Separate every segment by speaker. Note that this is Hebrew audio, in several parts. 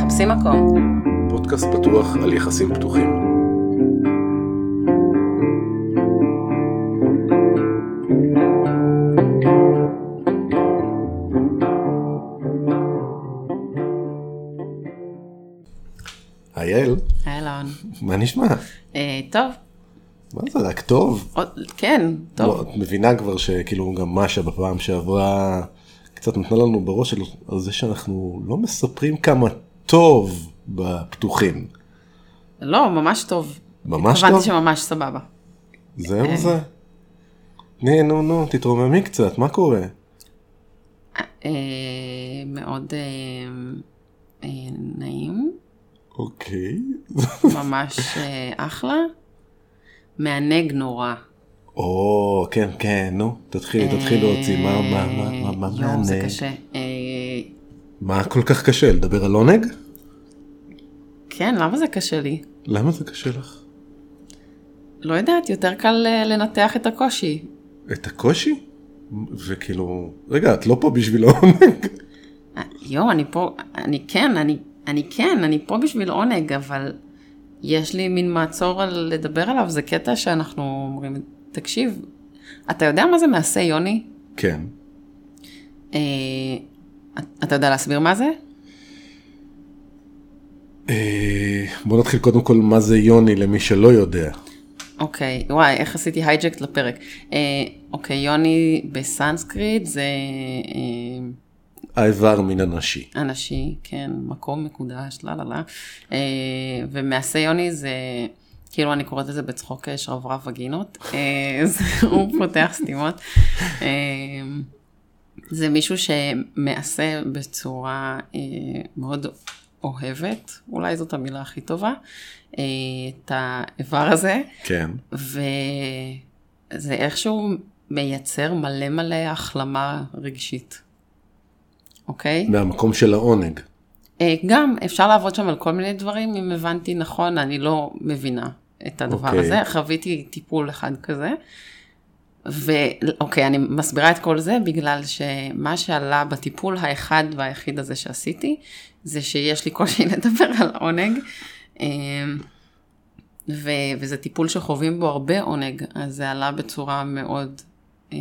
Speaker 1: תופסים מקום.
Speaker 2: פודקאסט פתוח על יחסים פתוחים. היי יעל,
Speaker 1: היי אלון.
Speaker 2: מה נשמע?
Speaker 1: אה, טוב,
Speaker 2: מה זה רק טוב?
Speaker 1: עוד, כן, טוב.
Speaker 2: לא, את מבינה כבר שכאילו גם משה בפעם שעברה קצת נתנה לנו בראש על, על זה שאנחנו לא מספרים כמה טוב בפתוחים.
Speaker 1: לא, ממש טוב.
Speaker 2: ממש טוב?
Speaker 1: התכוונתי שממש סבבה. אה.
Speaker 2: זהו זה. נה, נו נו, תתרוממי קצת, מה קורה?
Speaker 1: אה, מאוד אה, אה, נעים,
Speaker 2: אוקיי.
Speaker 1: ממש אה, אחלה. מענג נורא.
Speaker 2: או, כן, כן, נו, תתחילי, תתחילי להוציא, מה, מה, מה, מה, מה,
Speaker 1: יואו,
Speaker 2: מה,
Speaker 1: זה
Speaker 2: מה,
Speaker 1: קשה. אה,
Speaker 2: מה כל כך קשה, לדבר על עונג?
Speaker 1: כן, למה זה קשה לי?
Speaker 2: למה זה קשה לך?
Speaker 1: לא יודעת, יותר קל אה, לנתח את הקושי.
Speaker 2: את הקושי? וכאילו, רגע, את לא פה בשביל העונג.
Speaker 1: אה, יואו, אני פה, אני כן, אני, אני כן, אני פה בשביל עונג, אבל יש לי מין מעצור על לדבר עליו, זה קטע שאנחנו אומרים, תקשיב, אתה יודע מה זה מעשה יוני?
Speaker 2: כן.
Speaker 1: אה, את- אתה יודע להסביר מה זה?
Speaker 2: אה, בוא נתחיל קודם כל מה זה יוני למי שלא יודע.
Speaker 1: אוקיי, וואי, איך עשיתי הייג'קט לפרק. אה, אוקיי, יוני בסנסקריט זה אה,
Speaker 2: האיבר מן הנשי.
Speaker 1: אנשי, כן, מקום מקודש, לה לה לה. אה, ומעשה יוני זה, כאילו אני קוראת לזה בצחוק אה, שרברב וגינות, אה, זה- הוא פותח סתימות. אה, זה מישהו שמעשה בצורה אה, מאוד אוהבת, אולי זאת המילה הכי טובה, אה, את האיבר הזה.
Speaker 2: כן.
Speaker 1: וזה איכשהו מייצר מלא מלא החלמה רגשית, אוקיי?
Speaker 2: מהמקום של העונג.
Speaker 1: אה, גם אפשר לעבוד שם על כל מיני דברים, אם הבנתי נכון, אני לא מבינה את הדבר
Speaker 2: אוקיי.
Speaker 1: הזה, חוויתי טיפול אחד כזה. ואוקיי, אני מסבירה את כל זה בגלל שמה שעלה בטיפול האחד והיחיד הזה שעשיתי, זה שיש לי קושי לדבר על עונג. אה, ו... וזה טיפול שחווים בו הרבה עונג, אז זה עלה בצורה מאוד אה,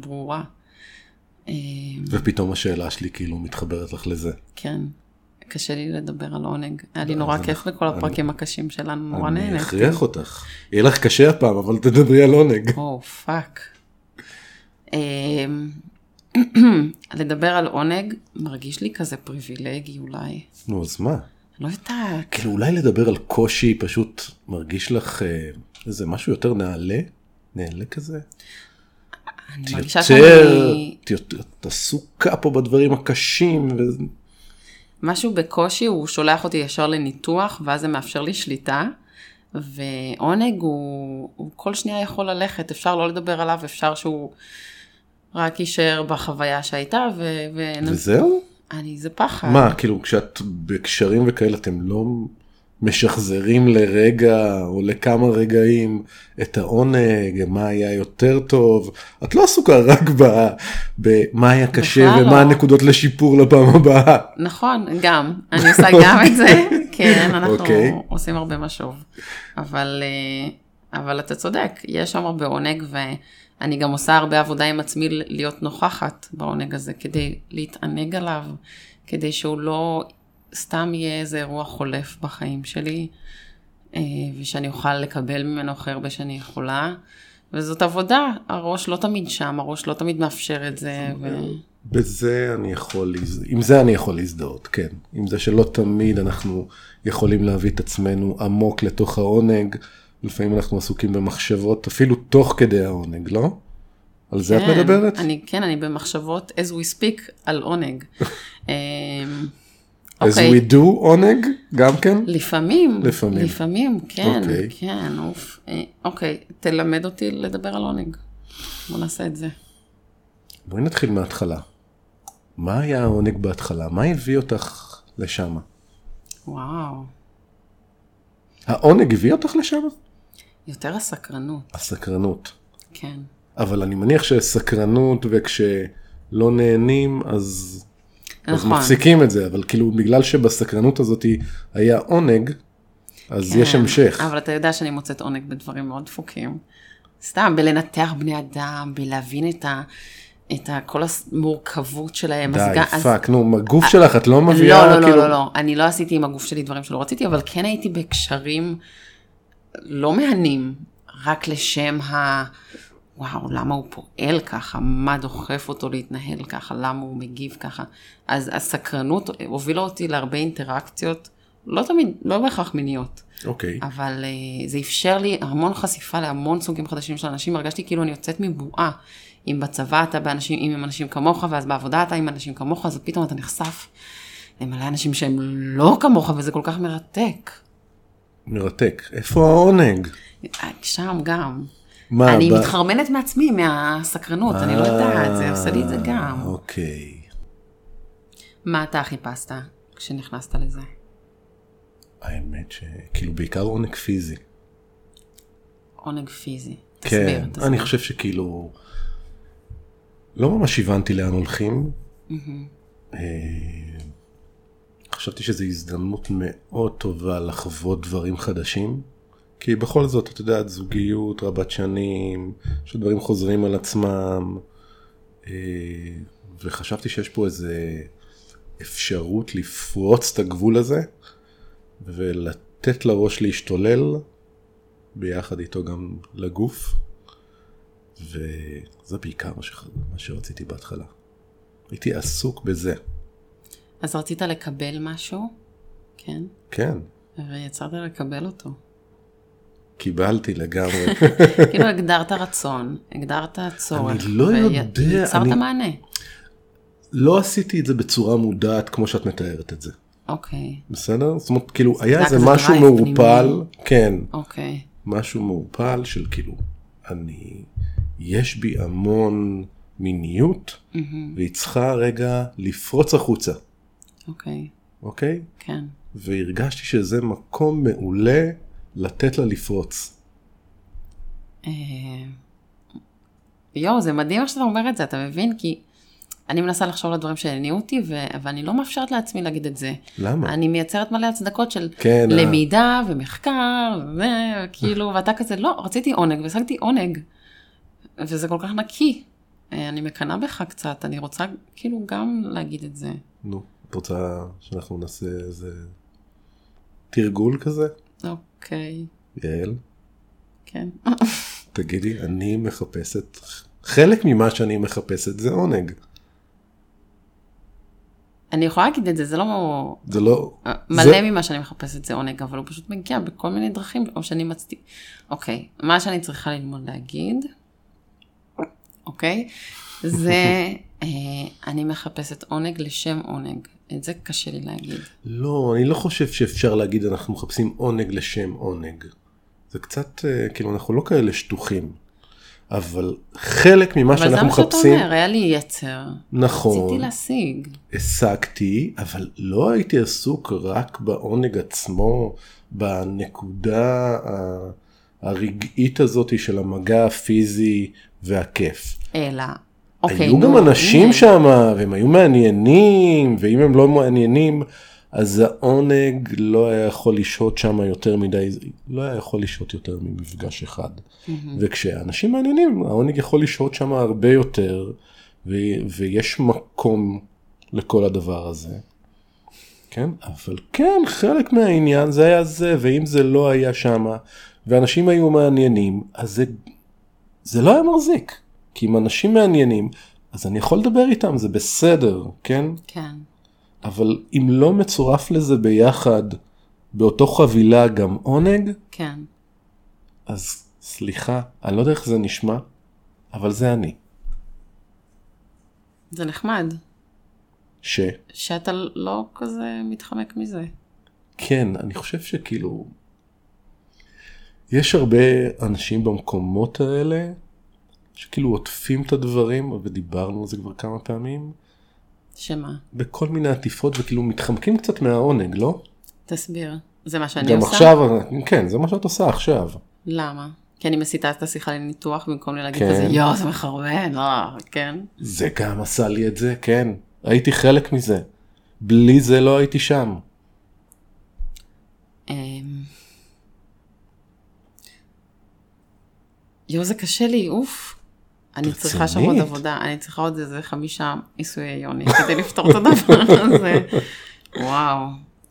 Speaker 1: ברורה. אה,
Speaker 2: ופתאום השאלה שלי כאילו מתחברת לך לזה.
Speaker 1: כן, קשה לי לדבר על עונג. היה לי
Speaker 2: אז
Speaker 1: נורא
Speaker 2: אנחנו-
Speaker 1: כיף בכל
Speaker 2: לא, אני-
Speaker 1: הפרקים הקשים שלנו, נורא
Speaker 2: אני
Speaker 1: נהנית.
Speaker 2: אכריח אותך. יהיה לך קשה הפעם, אבל תדברי על עונג.
Speaker 1: או, פאק. אמ, לדבר על עונג מרגיש לי כזה פריבילגי אולי.
Speaker 2: נו, אז מה?
Speaker 1: לא יודעת.
Speaker 2: כאילו אולי לדבר על קושי פשוט מרגיש לך אה, איזה משהו יותר נעלה? נעלה כזה?
Speaker 1: אני
Speaker 2: את
Speaker 1: מרגישה
Speaker 2: יותר,
Speaker 1: שאני...
Speaker 2: את יותר- את עסוקה פה בדברים הקשים. ו-
Speaker 1: משהו בקושי, הוא שולח אותי ישר לניתוח, ואז זה מאפשר לי שליטה. ועונג הוא, הוא כל שנייה יכול ללכת, אפשר לא לדבר עליו, אפשר שהוא רק יישאר בחוויה שהייתה, ו... ו...
Speaker 2: וזהו?
Speaker 1: אני, זה פחד.
Speaker 2: מה, כאילו כשאת בקשרים וכאלה אתם לא משחזרים לרגע או לכמה רגעים את העונג, מה היה יותר טוב? את לא עסוקה רק ב- במה היה קשה
Speaker 1: בכלל לא.
Speaker 2: ומה הנקודות לשיפור לפעם הבאה.
Speaker 1: נכון, גם. אני עושה גם את זה. כן, אנחנו
Speaker 2: אוקיי.
Speaker 1: עושים הרבה משוב. אבל, אה, אבל אתה צודק, יש שם הרבה עונג, ואני גם עושה הרבה עבודה עם עצמי ל- להיות נוכחת בעונג הזה, כדי להתענג עליו, כדי שהוא לא סתם יהיה איזה אירוע חולף בחיים שלי, אה, ושאני אוכל לקבל ממנו הכי הרבה שאני יכולה. וזאת עבודה, הראש לא תמיד שם, הראש לא תמיד מאפשר את זה.
Speaker 2: אה,
Speaker 1: ו...
Speaker 2: בזה אני יכול, להז- עם זה אני יכול להזדהות, כן. עם זה שלא תמיד אנחנו יכולים להביא את עצמנו עמוק לתוך העונג, לפעמים אנחנו עסוקים במחשבות, אפילו תוך כדי העונג, לא? על זה את
Speaker 1: כן,
Speaker 2: מדברת?
Speaker 1: אני, כן, אני במחשבות as we speak על עונג. אמ,
Speaker 2: As
Speaker 1: אוקיי,
Speaker 2: we do עונג, גם כן?
Speaker 1: לפעמים,
Speaker 2: לפעמים.
Speaker 1: לפעמים, כן,
Speaker 2: אוקיי.
Speaker 1: כן, אוף. אה, אוקיי, תלמד אותי לדבר על עונג. בוא נעשה את זה.
Speaker 2: בואי נתחיל מההתחלה. מה היה העונג בהתחלה? מה הביא אותך לשם?
Speaker 1: וואו,
Speaker 2: העונג הביא אותך לשם?
Speaker 1: יותר הסקרנות,
Speaker 2: הסקרנות.
Speaker 1: כן.
Speaker 2: אבל אני מניח שסקרנות וכשלא נהנים, אז אז
Speaker 1: נכון.
Speaker 2: מפסיקים את זה, אבל כאילו בגלל שבסקרנות הזאת היה עונג, אז יש
Speaker 1: כן,
Speaker 2: המשך.
Speaker 1: אבל אתה יודע שאני מוצאת עונג בדברים מאוד דפוקים. סתם, בלנתח בני אדם, בלהבין את, ה, את ה, כל המורכבות שלהם. אז
Speaker 2: די,
Speaker 1: גם- אז- אה,
Speaker 2: פאק, נו, הגוף שלך את לא מביאה,
Speaker 1: לא, לא,
Speaker 2: כאילו,
Speaker 1: לא, לא, לא, אני לא עשיתי עם הגוף שלי דברים שלא רציתי, אבל כן הייתי בקשרים לא מהנים, רק לשם ה... וואו, למה הוא פועל ככה? מה דוחף אותו להתנהל ככה? למה הוא מגיב ככה? אז הסקרנות הובילה אותי להרבה אינטראקציות, לא תמיד, לא בהכרח מיניות.
Speaker 2: אוקיי,
Speaker 1: אבל אה, זה אפשר לי המון חשיפה להמון סוגים חדשים של אנשים, הרגשתי כאילו אני יוצאת מבועה. אם בצבא אתה באנשים, אם עם אנשים כמוך, ואז בעבודה אתה עם אנשים כמוך, אז פתאום אתה נחשף למלא אנשים שהם לא כמוך, וזה כל כך מרתק.
Speaker 2: מרתק. איפה העונג?
Speaker 1: אה, שם גם.
Speaker 2: מה,
Speaker 1: אני
Speaker 2: אה, ב-
Speaker 1: מתחרמנת מעצמי מהסקרנות, אני לא יודעת, זה עושה לי את זה
Speaker 2: אה,
Speaker 1: גם.
Speaker 2: אוקיי.
Speaker 1: מה אתה חיפשת כשנכנסת לזה?
Speaker 2: האמת שכאילו בעיקר עונג פיזי.
Speaker 1: עונג פיזי. תסביר,
Speaker 2: כן,
Speaker 1: תסביר.
Speaker 2: אני חושב שכאילו לא ממש הבנתי לאן הולכים.
Speaker 1: Mm-hmm.
Speaker 2: אה, חשבתי שזו הזדמנות מאוד טובה לחוות דברים חדשים. כי בכל זאת, את יודעת, זוגיות רבת שנים, שדברים חוזרים על עצמם, אה, וחשבתי שיש פה איזה אפשרות לפרוץ את הגבול הזה, ולתת לראש להשתולל, ביחד איתו גם לגוף, וזה בעיקר מה, שח... מה שרציתי בהתחלה. הייתי עסוק בזה,
Speaker 1: אז רצית לקבל משהו, כן?
Speaker 2: כן,
Speaker 1: ויצרת לקבל אותו.
Speaker 2: קיבלתי לגמרי.
Speaker 1: כאילו הגדרת רצון, הגדרת צורך.
Speaker 2: אני לא יודע,
Speaker 1: ויצרת
Speaker 2: אני-
Speaker 1: מענה.
Speaker 2: לא עשיתי את זה בצורה מודעת כמו שאת מתארת את זה,
Speaker 1: אוקיי,
Speaker 2: בסדר? זאת אומרת, כאילו, היה
Speaker 1: זה
Speaker 2: איזה
Speaker 1: רק זה
Speaker 2: משהו
Speaker 1: דרייב
Speaker 2: מעורפל,
Speaker 1: פנימי.
Speaker 2: כן,
Speaker 1: אוקיי.
Speaker 2: משהו מעורפל של כאילו, אני, יש בי המון מיניות,
Speaker 1: מהמם,
Speaker 2: והיא צריכה רגע לפרוץ החוצה,
Speaker 1: אוקיי,
Speaker 2: אוקיי?
Speaker 1: כן.
Speaker 2: והרגשתי שזה מקום מעולה לתת לה לפרוץ.
Speaker 1: אה, יואו, זה מדהים איך שאתה אומר את זה, אתה מבין? כי אני מנסה לחשוב על הדברים שהניעו אותי, ו- ואני לא מאפשרת לעצמי להגיד את זה.
Speaker 2: למה?
Speaker 1: אני מייצרת מלא הצדקות של
Speaker 2: כן, אה.
Speaker 1: למידה ומחקר, וכאילו, ואתה כזה, לא, רציתי עונג, והשגתי עונג. וזה כל כך נקי. אה, אני מקנאה בך קצת, אני רוצה כאילו גם להגיד את זה.
Speaker 2: נו, את רוצה שאנחנו נעשה איזה תרגול כזה?
Speaker 1: אוקיי,
Speaker 2: יעל,
Speaker 1: כן.
Speaker 2: תגידי, אני מחפשת, חלק ממה שאני מחפשת זה עונג.
Speaker 1: אני יכולה להגיד את זה, זה לא...
Speaker 2: זה לא...
Speaker 1: מלא
Speaker 2: זה-
Speaker 1: ממה שאני מחפשת זה עונג, אבל הוא פשוט מגיע בכל מיני דרכים, או שאני מצדיק. אוקיי, מה שאני צריכה ללמוד להגיד, אוקיי, זה אה, אני מחפשת עונג לשם עונג. את זה קשה לי להגיד.
Speaker 2: לא, אני לא חושב שאפשר להגיד אנחנו מחפשים עונג לשם עונג. זה קצת, אה, כאילו, אנחנו לא כאלה שטוחים. אבל חלק ממה
Speaker 1: אבל זה
Speaker 2: שאנחנו
Speaker 1: מה שאתה
Speaker 2: מחפשים,
Speaker 1: אומר, היה לי יצר. רציתי
Speaker 2: נכון,
Speaker 1: להשיג.
Speaker 2: השגתי, אבל לא הייתי עסוק רק בעונג עצמו, בנקודה ה- הרגעית הזאת של המגע הפיזי והכיף.
Speaker 1: אלא,
Speaker 2: Okay,
Speaker 1: אוקיי,
Speaker 2: היו גם
Speaker 1: נו,
Speaker 2: אנשים
Speaker 1: הנה.
Speaker 2: שם, והם היו מעניינים, ואם הם לא מעניינים, אז העונג לא היה יכול לשהות שם יותר מדי, לא היה יכול לשהות יותר ממפגש אחד.
Speaker 1: מהמם.
Speaker 2: וכשאנשים מעניינים, העונג יכול לשהות שם הרבה יותר, ו- ויש מקום לכל הדבר הזה. כן, אבל כן, חלק מהעניין זה היה זה, ואם זה לא היה שם, ואנשים היו מעניינים, אז זה, זה לא היה מחזיק. כי אם אנשים מעניינים, אז אני יכול לדבר איתם, זה בסדר, כן?
Speaker 1: כן,
Speaker 2: אבל אם לא מצורף לזה ביחד, באותו חבילה גם עונג,
Speaker 1: כן.
Speaker 2: אז סליחה, אני לא יודע איך זה נשמע, אבל זה אני.
Speaker 1: זה נחמד,
Speaker 2: ש...
Speaker 1: שאתה לא כזה מתחמק מזה.
Speaker 2: כן, אני חושב שכאילו... יש הרבה אנשים במקומות האלה, שכאילו עוטפים את הדברים, ודיברנו על זה כבר כמה פעמים,
Speaker 1: שמה?
Speaker 2: בכל מיני עטיפות, וכאילו מתחמקים קצת מהעונג, לא?
Speaker 1: תסביר. זה מה שאני
Speaker 2: גם
Speaker 1: עושה?
Speaker 2: עכשיו, כן, זה מה שאת עושה עכשיו.
Speaker 1: למה? כי אני מסיטה את השיחה לניתוח במקום לי להגיד
Speaker 2: כן.
Speaker 1: כזה יואו זה מחרבן, לא, כן.
Speaker 2: זה גם עשה לי את זה, כן. הייתי חלק מזה. בלי זה לא הייתי שם.
Speaker 1: אמ, יואו, זה קשה לי, אוף. אני צריכה שם עוד
Speaker 2: רצינית.
Speaker 1: עבודה, אני צריכה עוד איזה חמישה עיסויי יוני כדי לפתור את הדבר הזה. וואו.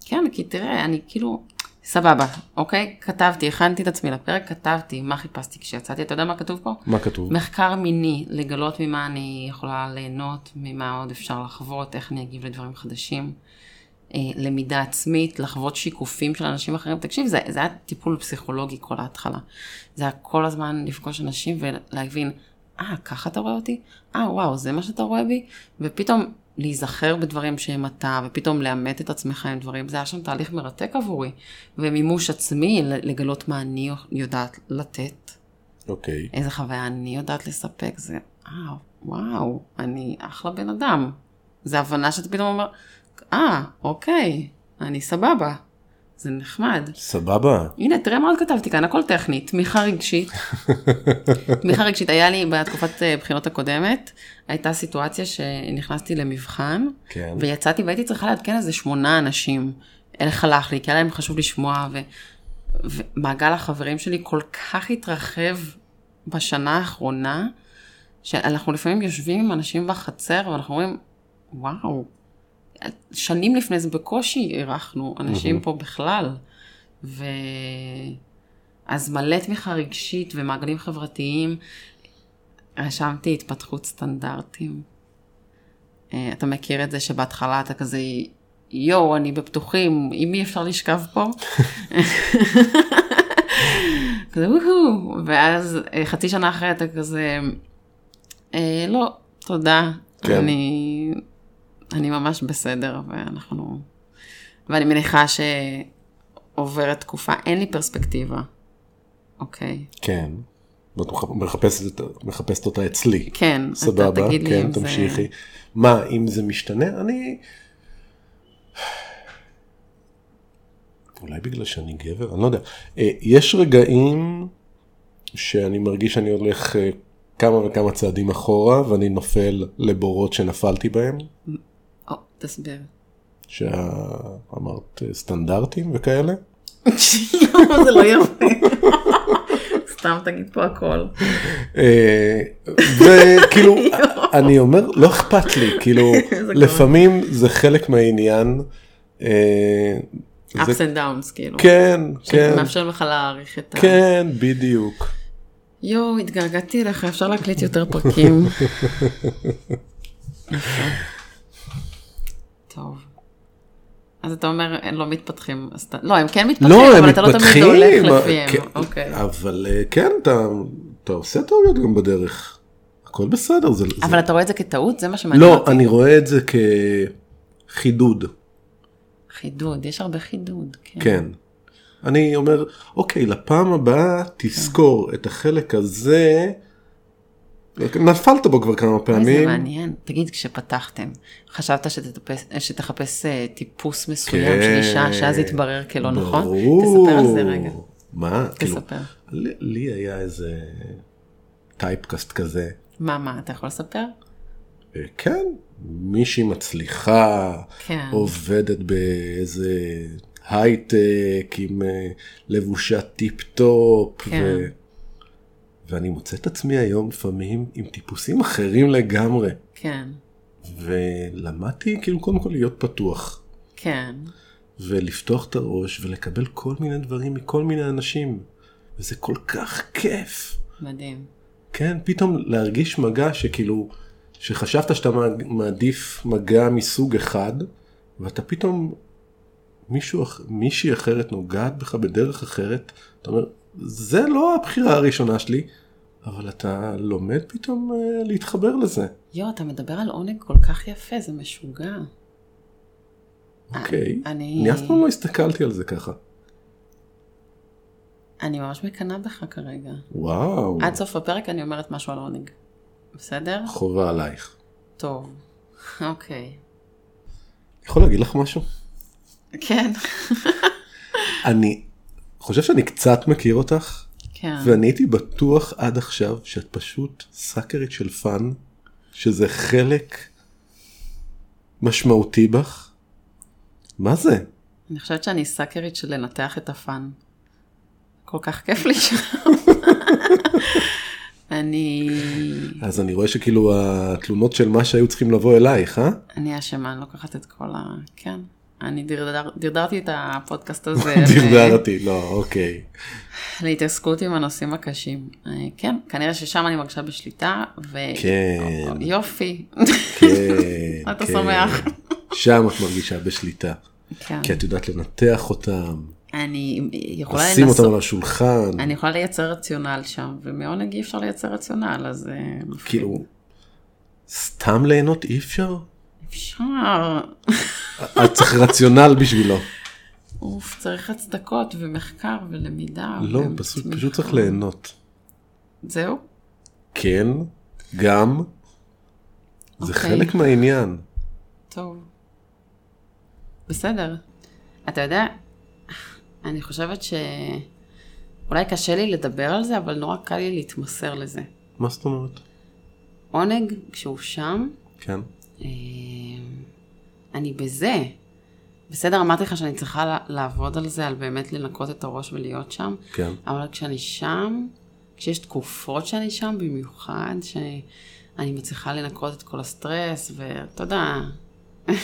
Speaker 1: כן, כי תראה, אני כאילו, סבבה, אוקיי? כתבתי, הכנתי את עצמי לפרק, כתבתי, מה חיפשתי כשיצאתי, אתה יודע מה כתוב פה?
Speaker 2: מה כתוב?
Speaker 1: מחקר מיני, לגלות ממה אני יכולה ליהנות, ממה עוד אפשר לחוות, איך אני אגיב לדברים חדשים. אה, למידה עצמית, לחוות שיקופים של אנשים אחרים. תקשיב, זה, זה היה טיפול פסיכולוגי כל ההתחלה. זה היה כל הזמן לפגוש אנשים ולהבין, אה, ככה אתה רואה אותי? אה, וואו, זה מה שאתה רואה בי? ופתאום להיזכר בדברים שהם אתה, ופתאום לאמת את עצמך עם דברים. זה היה שם תהליך מרתק עבורי. ומימוש עצמי, לגלות מה אני יודעת לתת.
Speaker 2: אוקיי.
Speaker 1: איזה חוויה אני יודעת לספק, זה, אה, וואו, אני אחלה בן אדם. זה הבנה שאתה פתאום אומר, אה, אוקיי, אני סבבה. זה נחמד.
Speaker 2: סבבה.
Speaker 1: הנה, תראה מה עוד כתבתי כאן, הכל טכני, תמיכה רגשית. תמיכה רגשית, היה לי בתקופת אה, בחינות הקודמת, הייתה סיטואציה שנכנסתי למבחן,
Speaker 2: כן.
Speaker 1: ויצאתי והייתי צריכה לעדכן איזה שמונה אנשים. איך הלך לי, כי היה להם חשוב לשמוע, ו... ומעגל החברים שלי כל כך התרחב בשנה האחרונה, שאנחנו לפעמים יושבים עם אנשים בחצר ואנחנו אומרים, וואו, שנים לפני זה בקושי אירחנו אנשים
Speaker 2: מהמם.
Speaker 1: פה בכלל. ו... אז מלא תמיכה רגשית ומעגלים חברתיים. רשמתי התפתחות סטנדרטים. אה, אתה מכיר את זה שבהתחלה אתה כזה, יואו, אני בפתוחים, עם מי אפשר לשכב פה? כזה וואו, ואז אה, חצי שנה אחרי אתה כזה, "אה, לא, תודה,
Speaker 2: כן.
Speaker 1: אני, אני ממש בסדר, ואנחנו, ואני מניחה שעוברת תקופה, אין לי פרספקטיבה, אוקיי,
Speaker 2: כן. ואת מח- מחפשת את- מחפשת אותה אצלי.
Speaker 1: כן, אתה
Speaker 2: סבבה,
Speaker 1: תגיד לי
Speaker 2: כן,
Speaker 1: אם
Speaker 2: תמשיכי. מה, אם זה משתנה? אני... אולי בגלל שאני גבר? אני לא יודע. אה, יש רגעים שאני מרגיש שאני הולך אה, כמה וכמה צעדים אחורה ואני נופל לבורות שנפלתי בהם,
Speaker 1: זה, או, תסביר.
Speaker 2: שאמרת אה, סטנדרטים וכאלה.
Speaker 1: זה לא יפה. סתם תגיד פה הכל.
Speaker 2: אה, וכאילו, אני אומר, לא אכפת לי, כאילו,
Speaker 1: גרוע.
Speaker 2: לפעמים זה חלק מהעניין. אה, זה-
Speaker 1: ups and downs כאילו.
Speaker 2: כן, כן,
Speaker 1: שמאפשר לך להעריך את ה...
Speaker 2: כן, בדיוק.
Speaker 1: אוקיי, יואו, התגעגעתי אליך, אפשר להקליט יותר פרקים. יפה. טוב. אז אתה אומר, הם לא מתפתחים. אז אתה- לא, הם כן מתפתחים,
Speaker 2: לא, הם
Speaker 1: אבל אתה לא תמיד
Speaker 2: מתפתחים,
Speaker 1: הולך
Speaker 2: אה,
Speaker 1: לפיהם.
Speaker 2: כן,
Speaker 1: אוקיי.
Speaker 2: אבל אה, כן, אתה- אתה עושה טעויות גם בדרך. הכל בסדר, זה... זה-
Speaker 1: אבל אתה רואה את זה כטעות? זה מה שמעניין
Speaker 2: לא,
Speaker 1: אותי.
Speaker 2: אני רואה את זה כחידוד,
Speaker 1: חידוד, יש הרבה חידוד. כן.
Speaker 2: כן. אני אומר, אוקיי, לפעם הבאה תזכור את החלק הזה. נפלת בו כבר כמה
Speaker 1: אוי, זה
Speaker 2: פעמים.
Speaker 1: מעניין. תגיד, כשפתחתם, חשבת שתטפס, שתחפש אה, טיפוס מסוים
Speaker 2: כן.
Speaker 1: של אישה, שאז יתברר כלא נכון?
Speaker 2: ברור.
Speaker 1: תספר על זה רגע.
Speaker 2: מה? כאילו,
Speaker 1: תספר.
Speaker 2: לי לי היה איזה טייפקאסט כזה.
Speaker 1: מה, מה, אתה יכול לספר?
Speaker 2: אה, כן, מישהי מצליחה,
Speaker 1: כן.
Speaker 2: עובדת באיזה הייטק עם אה, לבושה טיפ-טופ,
Speaker 1: כן.
Speaker 2: ו... ואני מוצא את עצמי היום לפעמים עם טיפוסים אחרים לגמרי,
Speaker 1: כן,
Speaker 2: ולמדתי כאילו קודם כל להיות פתוח,
Speaker 1: כן.
Speaker 2: ולפתוח את הראש ולקבל כל מיני דברים מכל מיני אנשים, וזה כל כך כיף.
Speaker 1: מדהים.
Speaker 2: כן, פתאום להרגיש מגע שכאילו, שחשבת שאתה מע- מעדיף מגע מסוג אחד, ואתה פתאום, מישהו, אח- מישהי אחרת נוגעת בך בדרך אחרת, אתה אומר, זה לא הבחירה הראשונה שלי, אבל אתה לומד פתאום אה, להתחבר לזה.
Speaker 1: יואו, אתה מדבר על עונג כל כך יפה, זה משוגע.
Speaker 2: אוקיי.
Speaker 1: אני,
Speaker 2: אני אף פעם לא הסתכלתי על זה ככה.
Speaker 1: אני ממש מקנאה בך כרגע.
Speaker 2: וואו,
Speaker 1: עד סוף הפרק אני אומרת משהו על עונג. בסדר?
Speaker 2: חובה עלייך.
Speaker 1: טוב. אוקיי.
Speaker 2: יכול להגיד לך משהו?
Speaker 1: כן,
Speaker 2: אני חושב שאני קצת מכיר אותך.
Speaker 1: כן.
Speaker 2: ואני הייתי בטוח עד עכשיו שאת פשוט סאקרית של פאן, שזה חלק משמעותי בך, מה זה?
Speaker 1: אני חושבת שאני סאקרית של לנתח את הפאן. כל כך כיף לי שם. אני...
Speaker 2: אז אני רואה שכאילו התלונות של מה שהיו צריכים לבוא אלייך, אה?
Speaker 1: אני אשמה, אני לוקחת את כל ה... כן. אני דרדר, דרדרתי את הפודקאסט הזה.
Speaker 2: דרדרתי, לא, אוקיי.
Speaker 1: להתעסקות עם הנושאים הקשים. אה, כן, כנראה ששם אני מרגישה בשליטה, ו...
Speaker 2: כן.
Speaker 1: יופי.
Speaker 2: כן,
Speaker 1: אתה
Speaker 2: כן.
Speaker 1: שמח.
Speaker 2: שם את מרגישה בשליטה.
Speaker 1: כן.
Speaker 2: כי את יודעת לנתח אותם,
Speaker 1: אני יכולה
Speaker 2: לשים אותם
Speaker 1: לנסות,
Speaker 2: על השולחן.
Speaker 1: אני יכולה לייצר רציונל שם, ומעונג אי אפשר לייצר רציונל, אז... אה, מפחיד.
Speaker 2: כאילו, סתם ליהנות אי אפשר?
Speaker 1: אפשר.
Speaker 2: את צריך רציונל בשבילו.
Speaker 1: אוף, צריך הצדקות ומחקר ולמידה.
Speaker 2: לא,
Speaker 1: ותמיכה.
Speaker 2: פשוט פשוט צריך ליהנות.
Speaker 1: זהו?
Speaker 2: כן, גם, זה
Speaker 1: אוקיי.
Speaker 2: חלק מהעניין.
Speaker 1: טוב. בסדר. אתה יודע, אני חושבת ש... אולי קשה לי לדבר על זה, אבל נורא קל לי להתמסר לזה.
Speaker 2: מה זאת אומרת?
Speaker 1: עונג, כשהוא שם,
Speaker 2: כן.
Speaker 1: אה, אני בזה. בסדר, אמרתי לך שאני צריכה לה- לעבוד על זה, על באמת לנקות את הראש ולהיות שם,
Speaker 2: כן.
Speaker 1: אבל כשאני שם, כשיש תקופות שאני שם, במיוחד, שאני מצליחה לנקות את כל הסטרס, ואתה יודע,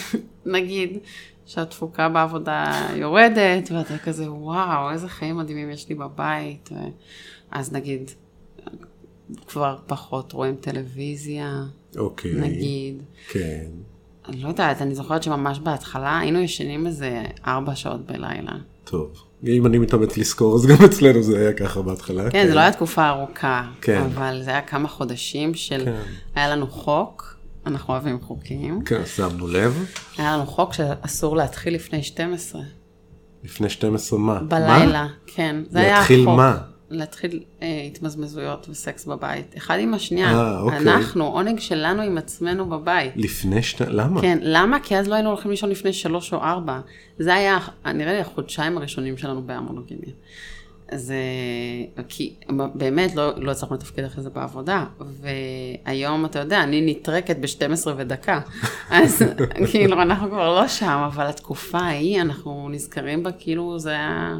Speaker 1: נגיד שהתפוקה בעבודה יורדת, ואתה כזה, וואו, איזה חיים מדהימים יש לי בבית, ו... אז נגיד, כבר פחות רואים טלוויזיה,
Speaker 2: אוקיי.
Speaker 1: נגיד.
Speaker 2: כן.
Speaker 1: אני לא יודעת, אני זוכרת שממש בהתחלה היינו ישנים איזה ארבע שעות בלילה.
Speaker 2: טוב. אם אני מתאמץ לזכור, אז גם אצלנו זה היה ככה בהתחלה.
Speaker 1: כן, זו לא הייתה תקופה ארוכה,
Speaker 2: כן.
Speaker 1: אבל זה היה כמה חודשים של,
Speaker 2: כן.
Speaker 1: היה לנו חוק, אנחנו אוהבים חוקים,
Speaker 2: כן, שמנו לב.
Speaker 1: היה לנו חוק שאסור להתחיל לפני 12
Speaker 2: לפני 12 מה?
Speaker 1: בלילה, כן, זה היה החוק.
Speaker 2: להתחיל מה?
Speaker 1: להתחיל אה, התמזמזויות וסקס בבית, אחד עם השנייה.
Speaker 2: אה, אוקיי.
Speaker 1: אנחנו, עונג שלנו עם עצמנו בבית.
Speaker 2: לפני שת... למה?
Speaker 1: כן, למה? כי אז לא היינו הולכים לישון לפני שלוש או ארבע. זה היה, נראה לי, החודשיים הראשונים שלנו בהמונוגמיה. זה, כי באמת לא, לא הצלחנו לתפקד אחרי זה בעבודה, והיום, אתה יודע, אני נטרקת ב-12 ודקה, אז כאילו, אנחנו כבר לא שם, אבל התקופה ההיא, אנחנו נזכרים בה, כאילו, זה היה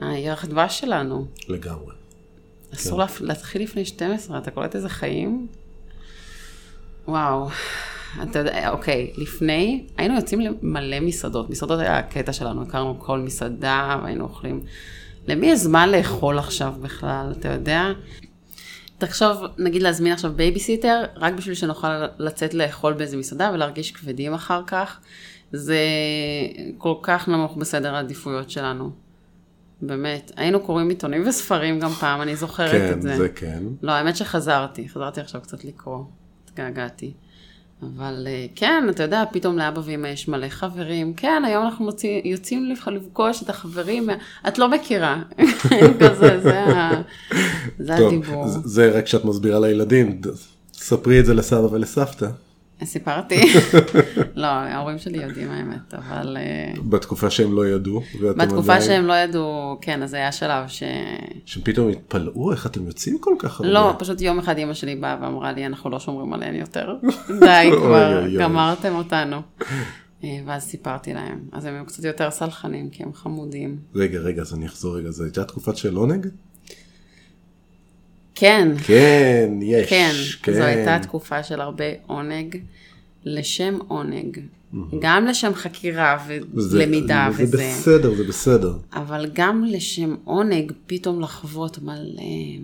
Speaker 1: הירח דבש שלנו.
Speaker 2: לגמרי.
Speaker 1: אסור כן. להתחיל לפני 12, אתה קולט איזה חיים? וואו. אתה יודע, אוקיי, לפני, היינו יוצאים למלא מסעדות. מסעדות היה הקטע שלנו, הכרנו כל מסעדה והיינו אוכלים. למי יש זמן לאכול עכשיו בכלל, אתה יודע? תחשוב, נגיד להזמין עכשיו בייביסיטר, רק בשביל שנוכל לצאת לאכול באיזה מסעדה ולהרגיש כבדים אחר כך. זה כל כך נמוך בסדר העדיפויות שלנו. באמת. היינו קוראים עיתונים וספרים גם פעם, אני זוכרת
Speaker 2: כן,
Speaker 1: את זה.
Speaker 2: זה כן.
Speaker 1: לא, האמת שחזרתי, חזרתי עכשיו קצת לקרוא, התגעגעתי. אבל אה, כן, אתה יודע, פתאום לאבא ואמא יש מלא חברים. כן, היום אנחנו מוציא, יוצאים לפ- לפגוש את החברים, מה- את לא מכירה. כזה, זה, ה... זה הדיבור.
Speaker 2: טוב, זה- זה רק כשאת מסבירה לילדים, ד- ספרי את זה לסבא ולסבתא.
Speaker 1: אה, סיפרתי. לא, ההורים שלי יודעים האמת, אבל... אה,
Speaker 2: בתקופה שהם לא ידעו. ואתם
Speaker 1: בתקופה
Speaker 2: עדיין-
Speaker 1: שהם לא ידעו, כן, אז היה שלב ש...
Speaker 2: שהם פתאום התפלאו איך אתם יוצאים כל כך הרבה.
Speaker 1: לא, פשוט יום אחד אימא שלי באה ואמרה לי, אנחנו לא שומרים עליהן יותר. די
Speaker 2: אוי,
Speaker 1: כבר,
Speaker 2: אוי, אוי.
Speaker 1: גמרתם אותנו. אה, ואז סיפרתי להם. אז הם היו קצת יותר סלחנים, כי הם חמודים.
Speaker 2: רגע, רגע, אז אני אחזור רגע, זו הייתה תקופת של עונג?
Speaker 1: כן,
Speaker 2: כן, יש.
Speaker 1: כן, זו הייתה תקופה של הרבה עונג, לשם עונג. גם לשם חקירה
Speaker 2: זה-
Speaker 1: ולמידה
Speaker 2: זה
Speaker 1: וזה.
Speaker 2: בסדר, זה בסדר.
Speaker 1: אבל גם לשם עונג, פתאום לחוות מלא,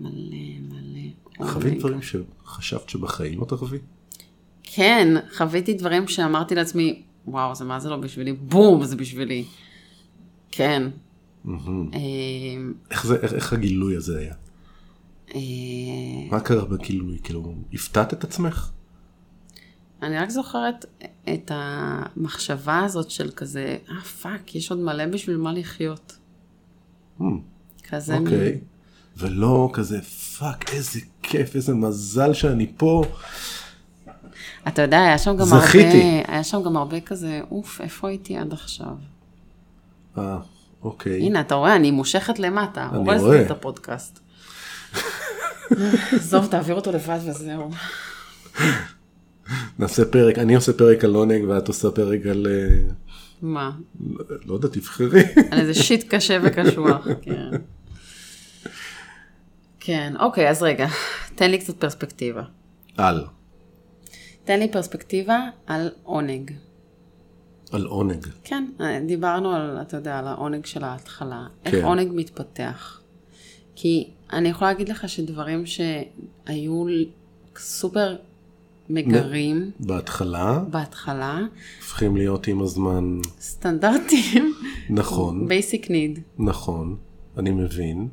Speaker 1: מלא, מלא
Speaker 2: חווים
Speaker 1: עונג.
Speaker 2: דברים שחשבת שבחיים לא תחווי?
Speaker 1: כן, חוויתי דברים שאמרתי לעצמי, וואו, זה מה זה לא בשבילי, בום, זה בשבילי. כן. אה,
Speaker 2: איך זה, איך- איך הגילוי הזה היה?
Speaker 1: אה,
Speaker 2: מה קרה בגילוי? כאילו, הפתעת את עצמך?
Speaker 1: אני רק זוכרת את המחשבה הזאת של כזה, אה, פאק, יש עוד מלא בשביל מה לחיות.
Speaker 2: Hmm.
Speaker 1: כזה, מין-
Speaker 2: אוקיי. ולא כזה, פאק, איזה כיף, איזה מזל שאני פה.
Speaker 1: אתה יודע, היה שם גם
Speaker 2: זכיתי.
Speaker 1: הרבה, היה שם גם הרבה כזה, אוף, איפה הייתי עד עכשיו?
Speaker 2: אה, אוקיי.
Speaker 1: הנה, אתה רואה, אני מושכת למטה.
Speaker 2: אני
Speaker 1: הורסת
Speaker 2: רואה.
Speaker 1: את הפודקאסט. עזוב, תעביר אותו לבד וזהו.
Speaker 2: נעשה פרק, אני עושה פרק על עונג ואת עושה פרק על, אה,
Speaker 1: מה?
Speaker 2: לא יודע, תבחרי.
Speaker 1: על איזה שיט קשה וקשוח, כן. כן, אוקיי, אז רגע, תן לי קצת פרספקטיבה.
Speaker 2: על.
Speaker 1: תן לי פרספקטיבה על עונג.
Speaker 2: על עונג.
Speaker 1: כן, דיברנו על, אתה יודע, על העונג של ההתחלה. איך
Speaker 2: כן.
Speaker 1: עונג מתפתח. כי אני יכולה להגיד לך שדברים שהיו ל- סופר מגרים
Speaker 2: בהתחלה,
Speaker 1: בהתחלה,
Speaker 2: הופכים להיות עם הזמן,
Speaker 1: סטנדרטים,
Speaker 2: נכון,
Speaker 1: basic need.
Speaker 2: נכון, אני מבין,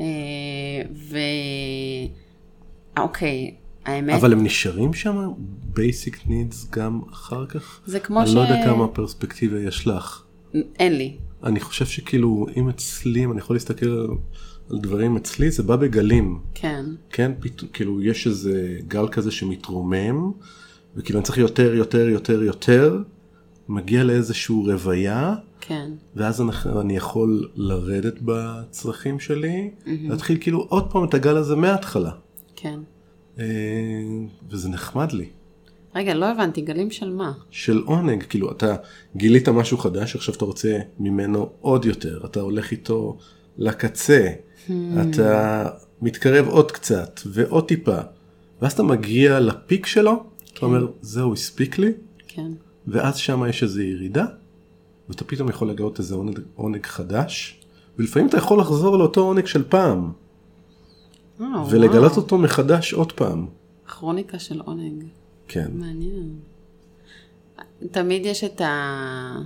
Speaker 1: אה, ו... אוקיי, האמת,
Speaker 2: אבל הם נשארים שם basic needs גם אחר כך?
Speaker 1: זה כמו
Speaker 2: אני
Speaker 1: ש...
Speaker 2: לא יודע כמה פרספקטיבה יש לך.
Speaker 1: אין לי.
Speaker 2: אני חושב שכאילו, אם אצלי, אם אני יכול להסתכל על- על דברים אצלי, זה בא בגלים.
Speaker 1: כן,
Speaker 2: כן, פת... כאילו יש איזה גל כזה שמתרומם, וכאילו אני צריך יותר, יותר, יותר, יותר, מגיע לאיזשהו רוויה,
Speaker 1: כן.
Speaker 2: ואז אני, אני יכול לרדת בצרכים שלי, mm-hmm. להתחיל כאילו עוד פעם את הגל הזה מההתחלה.
Speaker 1: כן.
Speaker 2: אה, וזה נחמד לי.
Speaker 1: רגע, לא הבנתי, גלים של מה?
Speaker 2: של עונג, כאילו אתה גילית משהו חדש, עכשיו אתה רוצה ממנו עוד יותר, אתה הולך איתו לקצה, אתה מתקרב עוד קצת ועוד טיפה, ואז אתה מגיע לפיק שלו, אתה אומר, זהו, הספיק לי,
Speaker 1: כן,
Speaker 2: ואז שם יש איזו ירידה, ואתה פתאום יכול לגלות איזה עונג, עונג חדש, ולפעמים אתה יכול לחזור לאותו עונג של פעם,
Speaker 1: אה,
Speaker 2: ולגלות
Speaker 1: וואו.
Speaker 2: אותו מחדש עוד פעם.
Speaker 1: כרוניקה של עונג,
Speaker 2: כן,
Speaker 1: מעניין. תמיד יש את, ה...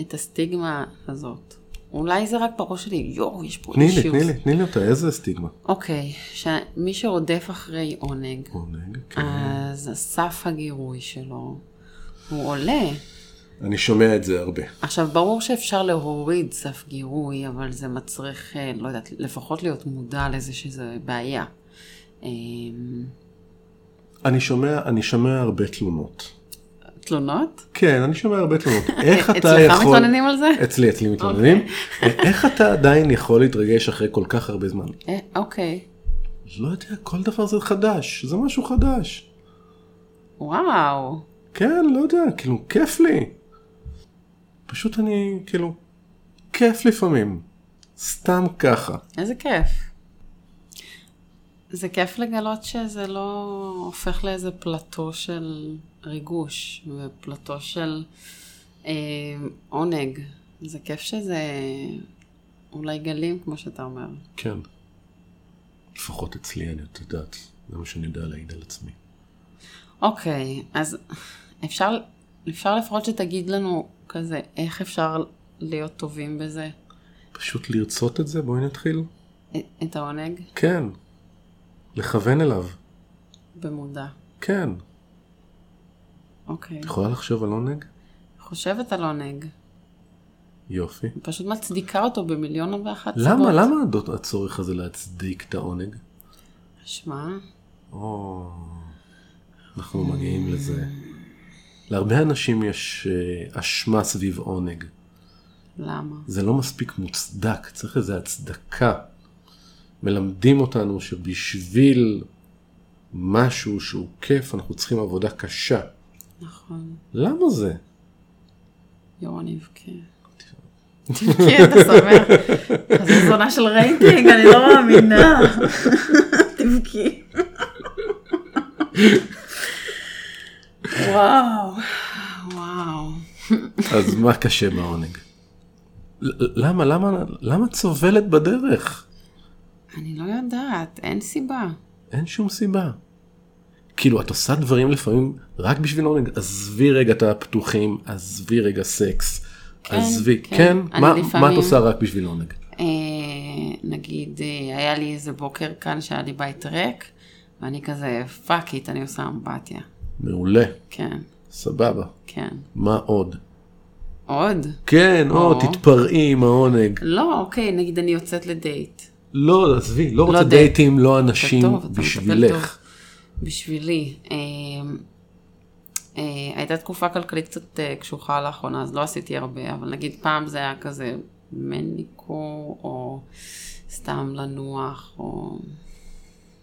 Speaker 1: את הסטיגמה הזאת. אולי זה רק בראש שלי, יואו, יש פה
Speaker 2: תני
Speaker 1: issues.
Speaker 2: לי, תני לי, תני לי אותה, איזה סטיגמה.
Speaker 1: אוקיי, שמי שרודף אחרי עונג,
Speaker 2: עונג, כן.
Speaker 1: אה. אז סף הגירוי שלו הוא עולה.
Speaker 2: אני שומע את זה הרבה.
Speaker 1: עכשיו, ברור שאפשר להוריד סף גירוי, אבל זה מצריך, אה, לא יודעת, לפחות להיות מודע לזה שזה בעיה. אה,
Speaker 2: אני שומע, אני שומע הרבה תלונות.
Speaker 1: תלונות? אה,
Speaker 2: כן, אני שומע הרבה תלונות. איך אתה יכול...
Speaker 1: אצלך מתלוננים על זה? אוקיי.
Speaker 2: אצלי, אצלי מתלוננים. איך אתה עדיין יכול להתרגש אחרי כל כך הרבה זמן?
Speaker 1: אה, אוקיי.
Speaker 2: לא יודע, כל דבר זה חדש, זה משהו חדש.
Speaker 1: וואו.
Speaker 2: כן, לא יודע, כאילו, כיף לי. פשוט אני, כאילו, כיף לפעמים. סתם ככה.
Speaker 1: איזה כיף. זה כיף לגלות שזה לא הופך לאיזה פלטו של ריגוש ופלטו של אה, עונג. זה כיף שזה אולי גלים, כמו שאתה אומר.
Speaker 2: כן. לפחות אצלי, אני, את יודעת, זה מה שאני יודע להעיד על עצמי.
Speaker 1: אוקיי, אז אפשר, אפשר לפחות שתגיד לנו כזה, איך אפשר להיות טובים בזה,
Speaker 2: פשוט לרצות את זה, בואי נתחיל.
Speaker 1: את- את העונג,
Speaker 2: כן. לכוון אליו.
Speaker 1: במודע.
Speaker 2: כן.
Speaker 1: אוקיי.
Speaker 2: את יכולה לחשוב על עונג?
Speaker 1: חושבת על עונג,
Speaker 2: יופי.
Speaker 1: פשוט מצדיקה אותו במיליון ואחת סיבות.
Speaker 2: למה, למה הדות- הצורך הזה להצדיק את העונג?
Speaker 1: שמע,
Speaker 2: או, אנחנו מגיעים לזה. להרבה אנשים יש אה, אשמה סביב עונג.
Speaker 1: למה?
Speaker 2: זה לא מספיק מוצדק, צריך איזו הצדקה. מלמדים אותנו שבשביל משהו שהוא כיף, אנחנו צריכים עבודה קשה.
Speaker 1: נכון.
Speaker 2: למה זה?
Speaker 1: יורון יבכה. תבכה, אתה שמח. אז זו זונה של רייטינג, אני לא מאמינה. תבכי. וואו, וואו.
Speaker 2: אז מה קשה בעונג? ל- למה, למה, למה את סובלת בדרך?
Speaker 1: אני לא יודעת, אין סיבה.
Speaker 2: אין שום סיבה. כאילו, את עושה דברים לפעמים רק בשביל עונג. עזבי רגע את הפתוחים, עזבי רגע סקס.
Speaker 1: כן,
Speaker 2: עזבי,
Speaker 1: כן.
Speaker 2: כן,
Speaker 1: אני
Speaker 2: מה, מה את
Speaker 1: לפעמים-
Speaker 2: עושה רק בשביל לא עונג?
Speaker 1: אה, נגיד, אה, היה לי איזה בוקר כאן שהיה לי בית ריק, ואני כזה, פאק איט, אני עושה אמבטיה.
Speaker 2: מעולה,
Speaker 1: כן,
Speaker 2: סבבה.
Speaker 1: כן.
Speaker 2: מה עוד?
Speaker 1: עוד?
Speaker 2: כן,
Speaker 1: או.
Speaker 2: או, תתפרעי עם העונג.
Speaker 1: לא, אוקיי, נגיד אני יוצאת לדייט.
Speaker 2: לא, עזבי, לא רוצה
Speaker 1: דייט.
Speaker 2: דייטים, לא אנשים
Speaker 1: טוב, אתה מטפל
Speaker 2: בשבילך.
Speaker 1: בשבילי. אמ, אה, הייתה תקופה כלכלית קצת אה, קשוחה לאחרונה, אז לא עשיתי הרבה, אבל נגיד פעם זה היה כזה מניקור, או סתם לנוח, או...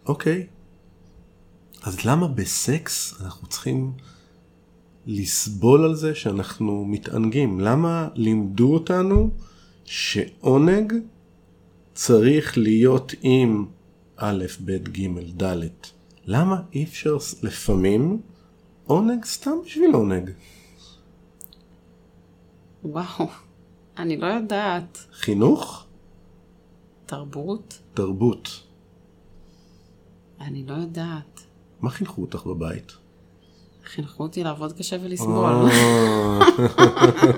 Speaker 2: אוקיי. אז למה בסקס אנחנו צריכים לסבול על זה שאנחנו מתענגים. למה לימדו אותנו שעונג צריך להיות עם א', ב', ג', ד'? למה אי אפשר ס- לפעמים עונג סתם בשביל עונג?
Speaker 1: וואו, אני לא יודעת.
Speaker 2: חינוך,
Speaker 1: תרבות?
Speaker 2: תרבות.
Speaker 1: אני לא יודעת.
Speaker 2: מה חינכו אותך בבית?
Speaker 1: חינכו אותי לעבוד קשה ולסבול.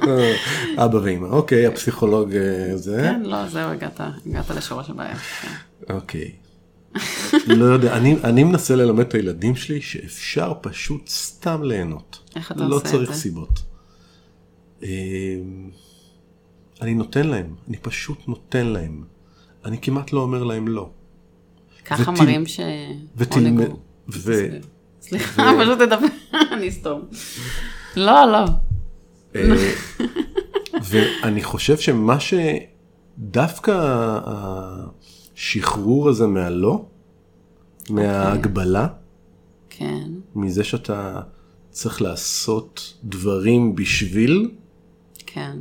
Speaker 2: אה, אבא ואמא, אוקיי, הפסיכולוג אה, זה.
Speaker 1: כן, לא, זהו, הגעת, הגעת לשורש הבעיה. כן.
Speaker 2: אוקיי. לא יודע, אני, אני מנסה ללמד את הילדים שלי שאפשר פשוט סתם ליהנות.
Speaker 1: איך אתה
Speaker 2: לא
Speaker 1: עושה את
Speaker 2: צריך
Speaker 1: זה?
Speaker 2: סיבות. אמ, אני נותן להם, אני פשוט נותן להם. אני כמעט לא אומר להם לא.
Speaker 1: ככה
Speaker 2: ותל-
Speaker 1: מראים ש...
Speaker 2: ותלמד...
Speaker 1: עונג הוא-
Speaker 2: ו...
Speaker 1: סליחה, פשוט תדבר, אני אסתום. לא, לא.
Speaker 2: אה, ואני חושב שמה שדווקא השחרור הזה מהלא,
Speaker 1: אוקיי.
Speaker 2: מההגבלה,
Speaker 1: כן,
Speaker 2: מזה שאתה צריך לעשות דברים בשביל,
Speaker 1: כן.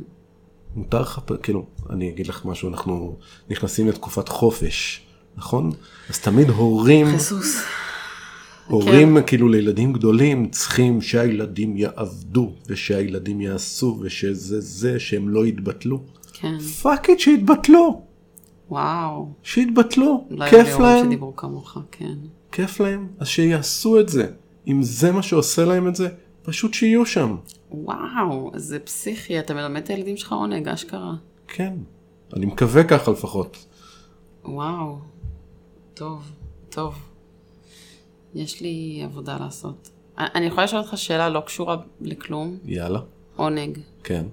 Speaker 2: מותר לך, פ- כאילו, אני אגיד לך משהו, אנחנו נכנסים לתקופת חופש, נכון? אז תמיד הורים,
Speaker 1: חיסוס. כן.
Speaker 2: הורים כאילו לילדים גדולים צריכים שהילדים יעבדו, ושהילדים יעשו, ושזה זה, שהם לא יתבטלו.
Speaker 1: כן.
Speaker 2: פאק איט שיתבטלו,
Speaker 1: וואו.
Speaker 2: שיתבטלו,
Speaker 1: לא היו לי
Speaker 2: כיף
Speaker 1: הורים
Speaker 2: להם,
Speaker 1: שדיברו כמוך, כן.
Speaker 2: כיף להם, אז שיעשו את זה. אם זה מה שעושה להם את זה, פשוט שיהיו שם.
Speaker 1: וואו, זה פסיכי, אתה מלמד את הילדים שלך עונג, אשכרה.
Speaker 2: כן, אני מקווה ככה לפחות.
Speaker 1: וואו. טוב, טוב. יש לי עבודה לעשות. א- אני יכולה לשאול אותך שאלה לא קשורה לכלום.
Speaker 2: יאללה.
Speaker 1: עונג.
Speaker 2: כן.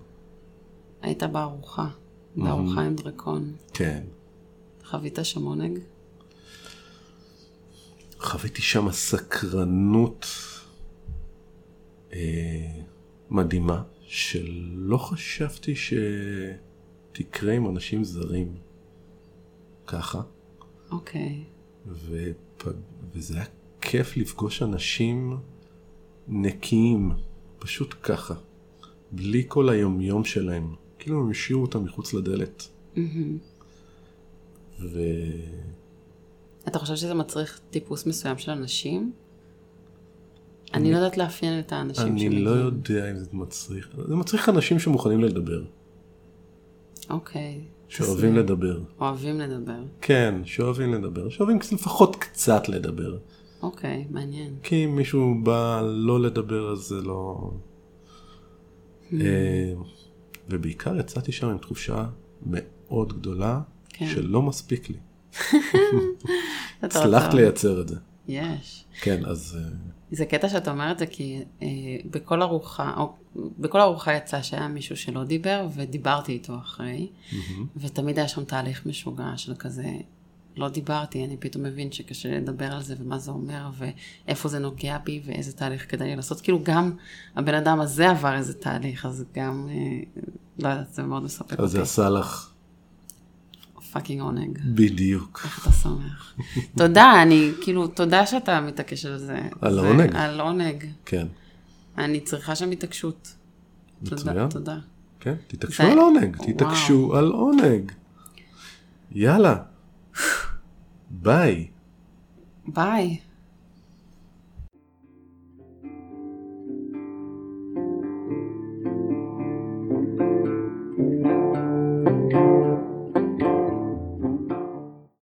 Speaker 1: היית בארוחה. בארוחה עם דרקון.
Speaker 2: כן.
Speaker 1: חווית שם עונג?
Speaker 2: חוויתי שם סקרנות אה, מדהימה, שלא חשבתי שתקרה עם אנשים זרים ככה,
Speaker 1: אוקיי.
Speaker 2: ופ... וזה היה כיף לפגוש אנשים נקיים, פשוט ככה, בלי כל היומיום שלהם, כאילו הם השאירו אותם מחוץ לדלת.
Speaker 1: מהמם.
Speaker 2: ו...
Speaker 1: אתה חושב שזה מצריך טיפוס מסוים של אנשים? אני לא יודעת לאפיין את האנשים כאילו.
Speaker 2: אני
Speaker 1: שמגיעים.
Speaker 2: לא יודע אם זה מצריך, זה מצריך אנשים שמוכנים לדבר,
Speaker 1: אוקיי.
Speaker 2: שאוהבים לדבר.
Speaker 1: אוהבים לדבר.
Speaker 2: כן, שאוהבים לדבר, שאוהבים לפחות קצת לדבר.
Speaker 1: אוקיי, מעניין.
Speaker 2: כי אם מישהו בא לא לדבר אז זה לא...
Speaker 1: Hmm.
Speaker 2: אה, ובעיקר יצאתי שם עם תחושה מאוד גדולה
Speaker 1: כן.
Speaker 2: שלא מספיק לי.
Speaker 1: אתה רוצה-
Speaker 2: הצלחת לייצר את זה.
Speaker 1: יש.
Speaker 2: כן, אז אה,
Speaker 1: זה קטע שאתה אומר את זה כי אה, בכל ארוחה, או, בכל ארוחה יצא שהיה מישהו שלא דיבר ודיברתי איתו אחרי, ותמיד היה שם תהליך משוגע של כזה, לא דיברתי, אני פתאום מבין שקשה לי לדבר על זה ומה זה אומר ואיפה זה נוגע בי ואיזה תהליך כדאי לי לעשות. כאילו גם הבן אדם הזה עבר איזה תהליך, אז גם, אה, לא יודעת, זה מאוד מספק
Speaker 2: אז
Speaker 1: אותי.
Speaker 2: זה עשה לך
Speaker 1: פאקינג עונג.
Speaker 2: בדיוק.
Speaker 1: איך אתה שמח. תודה, אני, כאילו, תודה שאתה מתעקש על זה.
Speaker 2: על
Speaker 1: זה-
Speaker 2: העונג.
Speaker 1: על עונג.
Speaker 2: כן,
Speaker 1: אני צריכה שם התעקשות. תודה,
Speaker 2: מצוין.
Speaker 1: תודה.
Speaker 2: כן, תתעקשו
Speaker 1: זה-
Speaker 2: על עונג,
Speaker 1: וואו.
Speaker 2: תתעקשו על עונג. יאללה, ביי.
Speaker 1: ביי.